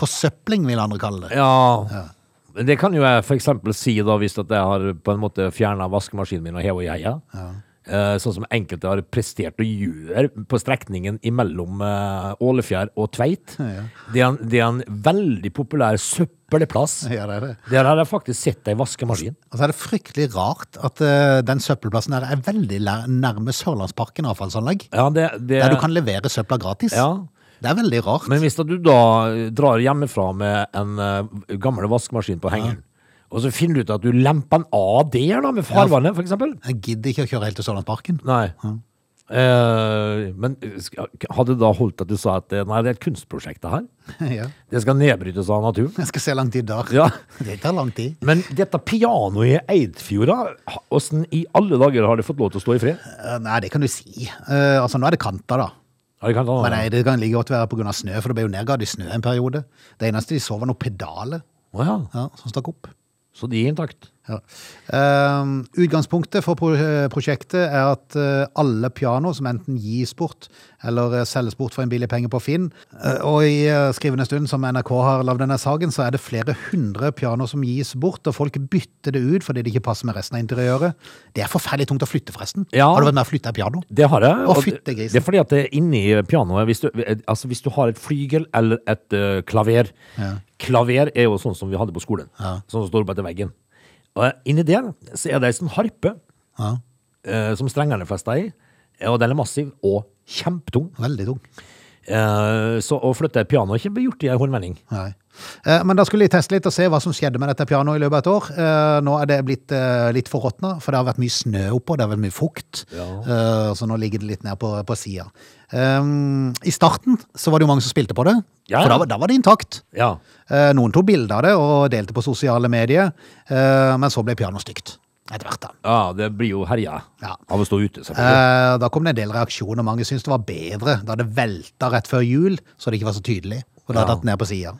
Speaker 1: Forsøpling, vil andre kalle det.
Speaker 2: Ja. Men det kan jo jeg for eksempel si da, hvis at jeg har på en måte fjernet vaskemaskinen min og hevet jeia. Eh, Sånn som enkelte har prestert å gjøre på strekningen imellom eh, Ålefjær og Tveit. Det, er en, det er en veldig populær søppelplass.
Speaker 1: Ja, det er det.
Speaker 2: Der har jeg faktisk sett ei vaskemaskin.
Speaker 1: Og så er det fryktelig rart at eh, den søppelplassen her er veldig lær- nærme Sørlandsparken avfallsanlegg.
Speaker 2: Ja, det, det,
Speaker 1: Der du kan levere søpla gratis.
Speaker 2: Ja.
Speaker 1: Det er veldig rart.
Speaker 2: Men hvis at du da drar hjemmefra med en eh, gammel eh, vaskemaskin på hengeren, Og så finner du ut at du lemper den av der, da, med farvannet, for eksempel.
Speaker 1: Jeg gidder ikke å kjøre helt til Sørlandsparken.
Speaker 2: Nei. Eh, men sk- hadde det da holdt at du sa at eh, nei, det er et kunstprosjekt, det her?
Speaker 1: ja.
Speaker 2: Det skal nedbrytes av naturen?
Speaker 1: Jeg skal se lang tid der.
Speaker 2: Ja.
Speaker 1: Det tar lang tid.
Speaker 2: Men dette pianoet i Eidfjorda, ha- åssen i alle dager har det fått lov til å stå i fred?
Speaker 1: Eh, Nei, det kan du si. Eh, altså, nå er det kanter, da.
Speaker 2: Ja, det kan ta-
Speaker 1: Men nei, det kan like godt være pga. snø, for det ble jo nedgadd i snø en periode. Det eneste de så, var noen pedaler
Speaker 2: Å ja.
Speaker 1: ja, som stakk opp.
Speaker 2: Så de er intakt.
Speaker 1: Ja. Ehm, utgangspunktet for pro eh, prosjektet er at eh, alle piano som enten gis bort eller eh, selges bort for en billig penge på Finn, eh, og i eh, skrivende stund som NRK har lagd denne saken, så er det flere hundre piano som gis bort, og folk bytter det ut fordi det ikke passer med resten av interiøret. Det er forferdelig tungt å flytte, forresten.
Speaker 2: Ja.
Speaker 1: Har du vært med å flytte et piano?
Speaker 2: Det har jeg.
Speaker 1: Å,
Speaker 2: og
Speaker 1: fytte
Speaker 2: det-
Speaker 1: grisen.
Speaker 2: Det er fordi at det er inni pianoet hvis du, altså hvis du har et flygel eller et eh, klaver Klaver er jo sånn som vi hadde på skolen. Sånn som står oppe etter veggen. Og eh, inni der så er det ei sånn harpe
Speaker 1: Ja.
Speaker 2: eh, som strengene er festa i. Og den er massiv og kjempetung.
Speaker 1: Veldig tung.
Speaker 2: Eh, så å flytte et piano er ikke gjort i ei håndvending.
Speaker 1: Nei. Eh, Men da skulle de teste litt og se hva som skjedde med dette pianoet i løpet av et år. Eh, Nå er det blitt eh, litt forråtna, for det har vært mye snø oppå, det har vært mye fukt. Eh, Så nå ligger det litt ned på, på sida. Eh, I starten så var det jo mange som spilte på det,
Speaker 2: Ja,
Speaker 1: for
Speaker 2: ja.
Speaker 1: da, var- da var det intakt.
Speaker 2: Ja.
Speaker 1: Eh, Noen tok bilder av det og delte på sosiale medier, eh, men så ble pianoet stygt etter hvert. da.
Speaker 2: ja, det blir jo herja
Speaker 1: Ja.
Speaker 2: av å stå ute, selvfølgelig.
Speaker 1: Eh, Da kom det en del reaksjoner, mange syntes det var bedre da det velta rett før jul, så det ikke var så tydelig, og da
Speaker 2: Ja.
Speaker 1: datt ned på sida.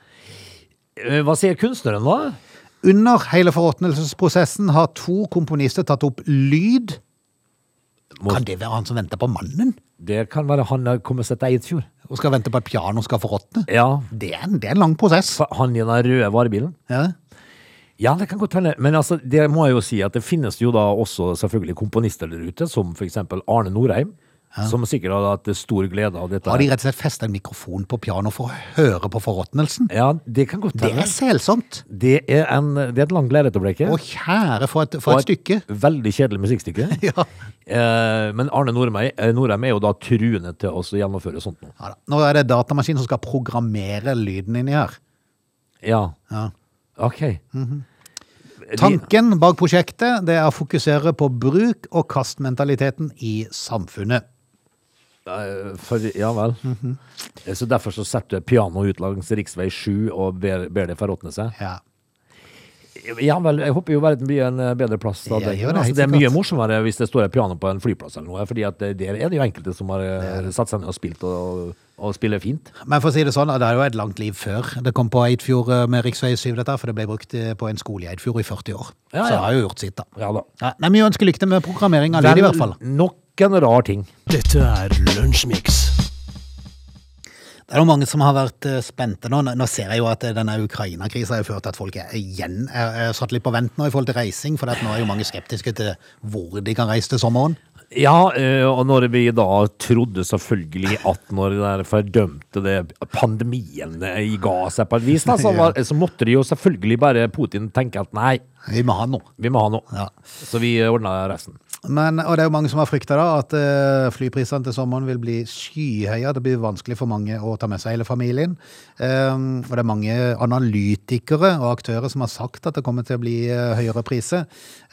Speaker 2: Eh, Hva sier kunstneren, da?
Speaker 1: Under hele forråtnelsesprosessen har to komponister tatt opp lyd.
Speaker 2: Må-
Speaker 1: Kan det være han som venter på mannen?
Speaker 2: Det kan være han har kommet seg til Eidfjord.
Speaker 1: Og skal vente på at pianoet skal forråtne?
Speaker 2: Ja.
Speaker 1: Det, er en- det er en lang prosess.
Speaker 2: for Han i den røde varebilen.
Speaker 1: Ja.
Speaker 2: Ja, det kan godt hende. Men altså, det må jeg jo si at det finnes jo da også selvfølgelig komponister der ute, som for eksempel Arne Norheim, som sikkert hadde hatt stor glede av dette.
Speaker 1: Har de rett og slett festa en mikrofon på pianoet for å høre på forråtnelsen?
Speaker 2: Ja, det kan godt
Speaker 1: Det
Speaker 2: hende.
Speaker 1: er selsomt.
Speaker 2: Det er, en, det er et langt lerret å bleke.
Speaker 1: Å kjære, for et, for et stykke.
Speaker 2: Veldig kjedelig musikkstykke.
Speaker 1: Ja.
Speaker 2: eh, men Arne Norheim, eh, Norheim er jo da truende til å gjennomføre sånt noe.
Speaker 1: Ja, da. Nå er det datamaskinen som skal programmere lyden inni her.
Speaker 2: Ja.
Speaker 1: Ja. Mhm.
Speaker 2: Ok. Eh, De-
Speaker 1: Tanken bak prosjektet det er å fokusere på bruk- og kastmentaliteten i samfunnet.
Speaker 2: Eh, For, ja vel. Eh, Så derfor så setter du et piano ut langs rv. 7 og ber, ber det forråtne seg.
Speaker 1: Ja.
Speaker 2: Ja vel, jeg håper jo verden blir en eh, bedre plass. Da,
Speaker 1: Jeg
Speaker 2: det,
Speaker 1: gjør det,
Speaker 2: altså,
Speaker 1: helt
Speaker 2: det er mye
Speaker 1: sikkert.
Speaker 2: morsommere hvis det står et piano på en flyplass eller noe, fordi at eh, der er det jo enkelte som har eh, satt seg ned og spilt, og, og spiller fint.
Speaker 1: Men for å si det sånn, det er jo et langt liv før det kom på Eidfjord eh, med Riksvei 7, dette, her, for det ble brukt eh, på en skole i Eidfjord i 40 år.
Speaker 2: Ja,
Speaker 1: Så
Speaker 2: ja.
Speaker 1: det har jo gjort sitt, da.
Speaker 2: Ja da.
Speaker 1: Ja, nei, Vi ønsker lykke til med programmering av lyd, i hvert fall.
Speaker 2: Nok en rar ting.
Speaker 3: Dette er Lunsjmix.
Speaker 1: Det er jo mange som har vært eh, spente nå. Nå- Nå ser jeg jo at eh, denne Ukraina-krisa har jo ført til at folk er igjen er, er satt litt på vent nå i forhold til reising, for at nå er jo mange skeptiske til hvor de kan reise til sommeren.
Speaker 2: Ja, eh, og når vi da trodde selvfølgelig at når det der fordømte det pandemien eh, ga seg på et vis, da, så, var, så måtte de jo selvfølgelig bare Putin tenke at nei,
Speaker 1: Vi må ha noe.
Speaker 2: vi må ha noe.
Speaker 1: Ja.
Speaker 2: Så vi ordna resten.
Speaker 1: Men, og det er jo mange som har frykta da, at eh, flyprisene til sommeren vil bli skyhøye. Det blir vanskelig for mange å ta med seg hele familien. Ehm, og det er mange analytikere og aktører som har sagt at det kommer til å bli eh, høyere priser.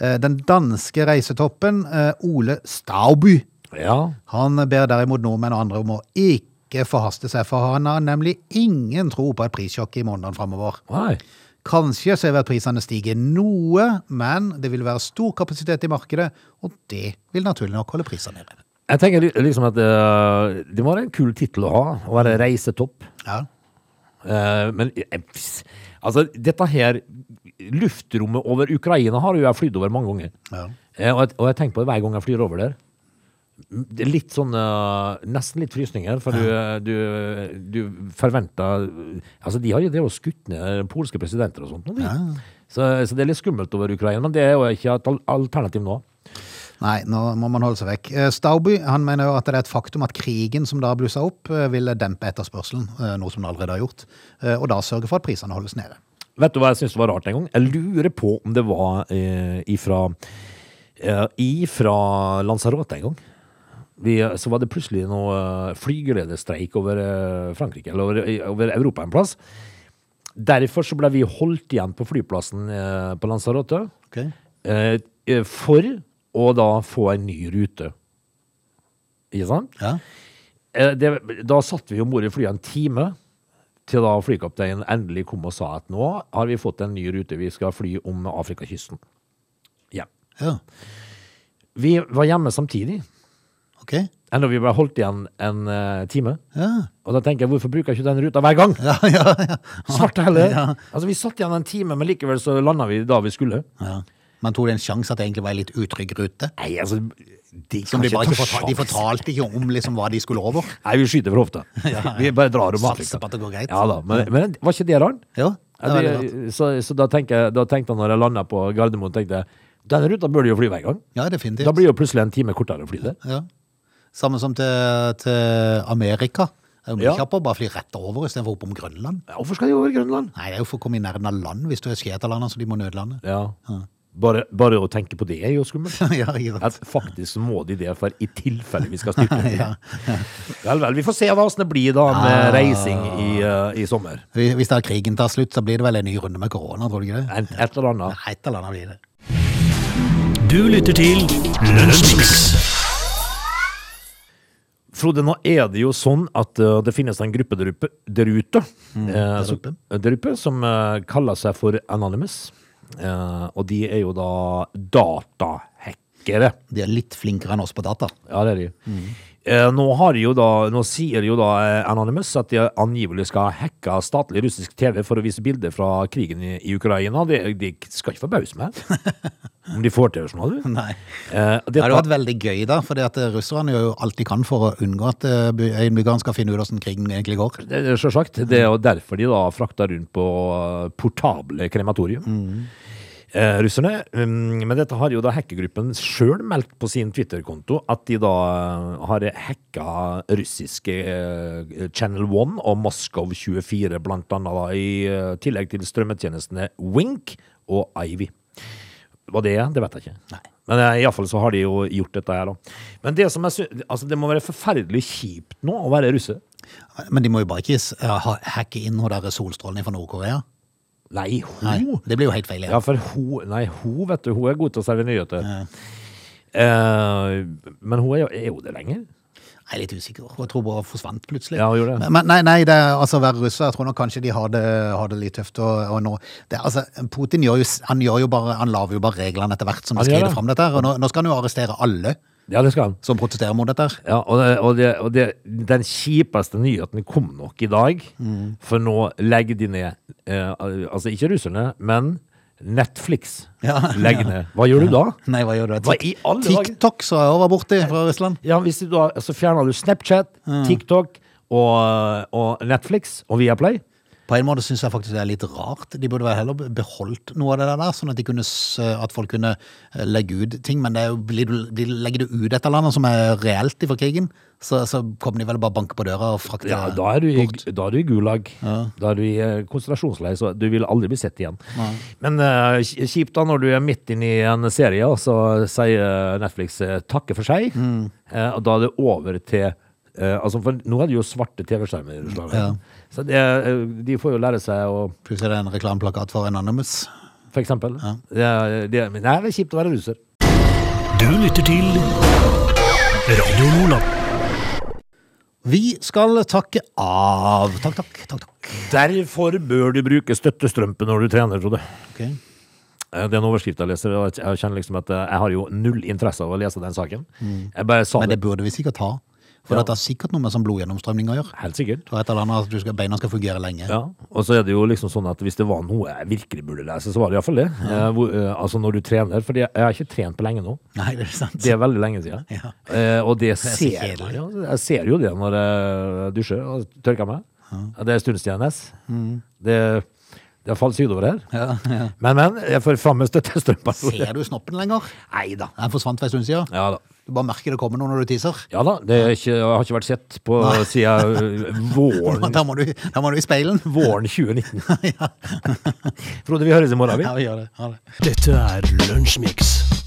Speaker 1: Eh, den danske reisetoppen, eh, Ole Stauby,
Speaker 2: Ja.
Speaker 1: han ber derimot nordmenn og andre om å ikke forhaste seg, for han har nemlig ingen tro på et prissjokk i månedene framover.
Speaker 2: Nei.
Speaker 1: Kanskje ser vi at prisene stiger noe, men det vil være stor kapasitet i markedet, og det vil naturlig nok holde prisene nede.
Speaker 2: Jeg tenker li- liksom at eh, det må være en kul tittel å ha, å være reisetopp.
Speaker 1: Ja.
Speaker 2: Eh, men eh, pss, altså, dette her Luftrommet over Ukraina har jo jeg flydd over mange ganger.
Speaker 1: Ja.
Speaker 2: Eh, og, jeg, og jeg tenker på det hver gang jeg flyr over der. Det er litt sånn eh, Nesten litt frysninger, for du, du, du forventer Altså, de har jo drevet og skutt ned polske presidenter og sånt. nå, de. Så, så det er litt skummelt over Ukraina, men det er jo ikke et al- alternativ nå.
Speaker 1: Nei, nå må man holde seg vekk. Eh, Stauby han mener jo at det er et faktum at krigen som da blussa opp, eh, vil dempe etterspørselen, eh, noe som den allerede har gjort, eh, og da sørge for at prisene holdes nede.
Speaker 2: Vet du hva jeg syns var rart en gang? Jeg lurer på om det var eh, ifra, eh, ifra Lanzarote en gang. Vi, eh, så var det plutselig noe eh, flygelederstreik over eh, Frankrike, eller over, over Europa en plass. Derfor så ble vi holdt igjen på flyplassen eh, på Lanzarote
Speaker 1: Ok.
Speaker 2: eh, eh, for å da få en ny rute. Ikke sant?
Speaker 1: Ja.
Speaker 2: Eh, det, da satt vi om bord i flyet en time, til da flykapteinen endelig kom og sa at nå har vi fått en ny rute, vi skal fly om Afrikakysten. Ja.
Speaker 1: ja.
Speaker 2: Vi var hjemme samtidig,
Speaker 1: Ok.
Speaker 2: enda vi ble holdt igjen en eh, time.
Speaker 1: Ja.
Speaker 2: Og da tenker jeg, hvorfor bruker jeg ikke den ruta hver gang?
Speaker 1: Ja, ja, ja.
Speaker 2: Svarte heller.
Speaker 1: Ja.
Speaker 2: Altså, vi satt igjen en time, men likevel så landa vi da vi skulle.
Speaker 1: ja. Man tok det en sjanse at det egentlig var en litt utrygg rute.
Speaker 2: Nei, altså, de
Speaker 1: Som
Speaker 2: kan
Speaker 1: de,
Speaker 2: ikke
Speaker 1: bare ikke
Speaker 2: ta
Speaker 1: fortal, de
Speaker 2: sjans.
Speaker 1: fortalte ikke om liksom, hva de skulle over.
Speaker 2: Nei, vi skyter fra hofta. Vi bare drar om
Speaker 1: Satser
Speaker 2: Afrika.
Speaker 1: på at det går greit.
Speaker 2: Ja da, men, men var ikke det rart?
Speaker 1: Jo, det
Speaker 2: Ja,
Speaker 1: er
Speaker 2: det,
Speaker 1: veldig rart.
Speaker 2: så så da, tenker, jeg- da tenkte jeg når jeg landa på Gardermoen, tenkte jeg den ruta bør de jo fly hver gang.
Speaker 1: Ja, definitivt.
Speaker 2: Da blir jo plutselig en time kortere å fly der.
Speaker 1: Ja. Samme som til, til Amerika. Det er jo mye
Speaker 2: Ja.
Speaker 1: kjappere å bare fly rett over istedenfor opp om Grønland.
Speaker 2: Ja, Hvorfor skal de over Grønland?
Speaker 1: Nei, det er jo for å komme i nærheten av land hvis du er skjeterlandet, så de må nødlande.
Speaker 2: Ja. Bare, bare å tenke på det er jo skummelt.
Speaker 1: ja, ikke
Speaker 2: At
Speaker 1: sant.
Speaker 2: faktisk må de det, for i tilfelle vi skal styrte.
Speaker 1: Ja.
Speaker 2: Vel, vel. Vi får se hva åssen det blir da med reising i, eh, i sommer.
Speaker 1: Hvis hvis da krigen tar slutt, så blir det vel en ny runde med korona, tror du ikke det?
Speaker 2: Et, et eller annet.
Speaker 1: Et eller annet blir det.
Speaker 3: Du lytter til Lunsjmix.
Speaker 2: Frode, nå er det jo sånn at eh, det finnes en gruppe der ute, der ute,
Speaker 1: Mm,
Speaker 2: eh, som, der ute som eh, kaller seg for Anonymous. Eh, og de er jo da datahackere.
Speaker 1: De er litt flinkere enn oss på data.
Speaker 2: Ja, det er de.
Speaker 1: Mm.
Speaker 2: Eh, nå, har de jo da, nå sier jo da eh, Anonymous at de angivelig skal hacke statlig russisk TV for å vise bilder fra krigen i, i Ukraina. De, de skal ikke forbause meg om de får til sånn, har du.
Speaker 1: Nei. Det
Speaker 2: Eh,
Speaker 1: hadde
Speaker 2: dette-
Speaker 1: vært veldig gøy, da, for russerne gjør jo alt de kan for å unngå at eh, by- innbyggerne skal finne ut hvordan krigen egentlig går.
Speaker 2: Det er Selvsagt. Det er jo derfor de da frakter rundt på eh, portable krematorium. Eh, russerne. Mm, Men dette har jo da hackergruppen sjøl meldt på sin Twitter-konto, at de da eh, har hacka russiske eh, Channel 1 og Moskov 24, blant annet da, i eh, tillegg til strømmetjenestene Wink og Ivy. Hva det er, det vet jeg ikke.
Speaker 1: Nei.
Speaker 2: Men eh, i alle fall så har de jo gjort dette her, da. Men det som jeg sy- altså, det må være forferdelig kjipt nå å være russer.
Speaker 1: Men de må jo bare ikke s- eh, ha- hacke inn hun der solstrålen fra Nord-Korea.
Speaker 2: Nei, ho!
Speaker 1: Nei, det blir jo helt feil.
Speaker 2: Ja,
Speaker 1: igjen.
Speaker 2: for hun, nei, hun vet du, hun er god til å serve nyheter. Eh, men hun er, jo- er jo det lenger.
Speaker 1: Jeg er litt usikker. Jeg tror bare hun forsvant plutselig.
Speaker 2: Ja, hun gjorde det.
Speaker 1: Men- Men nei, nei det er, altså, å være russer, jeg tror nok kanskje de har det, har det litt tøft. Og, og nå, det, er- altså, Putin gjør jo, s- han gjør jo bare, han laver jo bare reglene etter hvert som de
Speaker 2: Han gjør
Speaker 1: skrider
Speaker 2: det.
Speaker 1: fram dette her. Og nå, nå skal han jo arrestere alle
Speaker 2: Ja, det skal han.
Speaker 1: som protesterer mot dette her.
Speaker 2: Ja, og det, og det, og det, den kjipeste nyheten kom nok i dag, for nå legger de ned eh, Altså ikke russerne, men Netflix
Speaker 1: Ja.
Speaker 2: legger ned. Hva gjør du da?
Speaker 1: Nei, hva gjør du?
Speaker 2: Hva i alle dager?
Speaker 1: TikTok så jeg over borti fra Russland.
Speaker 2: Ja, hvis du da, Så fjerner du Snapchat, TikTok og, og Netflix og Viaplay.
Speaker 1: På en måte syns jeg faktisk det er litt rart. De burde vel heller beholdt noe av det der, sånn at, de kunne, s- at folk kunne eh, legge ut ting. Men det er jo, blir du- de legger du ut et eller annet som er reelt fra krigen, så, så kommer de vel bare banke på døra og frakte
Speaker 2: Ja, da er du i,
Speaker 1: bort.
Speaker 2: da er du i gulag. Da er du i eh, konsentrasjonsleir, så du vil aldri bli sett igjen. Men eh, kj- kjipt da når du er midt inne i en serie, og så sier Netflix eh, takke for seg. Eh, og da er det over til eh, altså for Nå er det jo svarte TV-skjermer. i Russland.
Speaker 1: Ja.
Speaker 2: Så det, eh, de får jo lære seg å
Speaker 1: Plutselig er det en reklameplakat for Anonymous.
Speaker 2: For eksempel. Det, det, men nei, det er kjipt å være russer.
Speaker 3: Du lytter til Radio Nordland.
Speaker 1: Vi skal takke av. Takk, takk. takk, takk.
Speaker 2: Derfor bør du bruke støttestrømpe når du trener, Frode.
Speaker 1: Ok.
Speaker 2: Eh, Det er en overskrift jeg leser, og jeg kjenner liksom at eh, jeg har jo null interesse av å lese den saken. Jeg bare sa
Speaker 1: Mm. Men
Speaker 2: det,
Speaker 1: det burde vi sikkert ha. For
Speaker 2: Ja.
Speaker 1: dette har sikkert noe med sånn blodgjennomstrømning å gjøre.
Speaker 2: helt sikkert.
Speaker 1: Det er et eller annet at du skal, Beina skal fungere lenge.
Speaker 2: Ja, og så er det jo liksom sånn at hvis det var noe jeg virkelig burde lese, så var det iallfall det. Eh, hvor, eh, altså når du trener, for jeg har ikke trent på lenge nå.
Speaker 1: Nei, det er sant.
Speaker 2: Det er veldig lenge siden.
Speaker 1: Ja.
Speaker 2: Eh, og det,
Speaker 1: så
Speaker 2: ser jeg.
Speaker 1: kjedelig.
Speaker 2: Ja, jeg ser jo det når jeg dusjer og tørker meg. Ja, Det er en stund siden NS. Det, det har falt sydover her.
Speaker 1: Mm. Ja, ja.
Speaker 2: Men, men, jeg får fram med støttestrømpa.
Speaker 1: Ser du snoppen lenger?
Speaker 2: Nei da.
Speaker 1: Den forsvant for en stund siden.
Speaker 2: Ja da.
Speaker 1: Du bare merker det kommer noe når du tisser.
Speaker 2: Ja da, det er ikke, jeg har ikke vært sett på siden eh, våren,
Speaker 1: Da må du, da må du i speilen.
Speaker 2: våren 2019. Frode, vi høres i morgen, vi.
Speaker 1: Ja, vi gjør det. Ha det.
Speaker 3: Dette er Lunsjmix.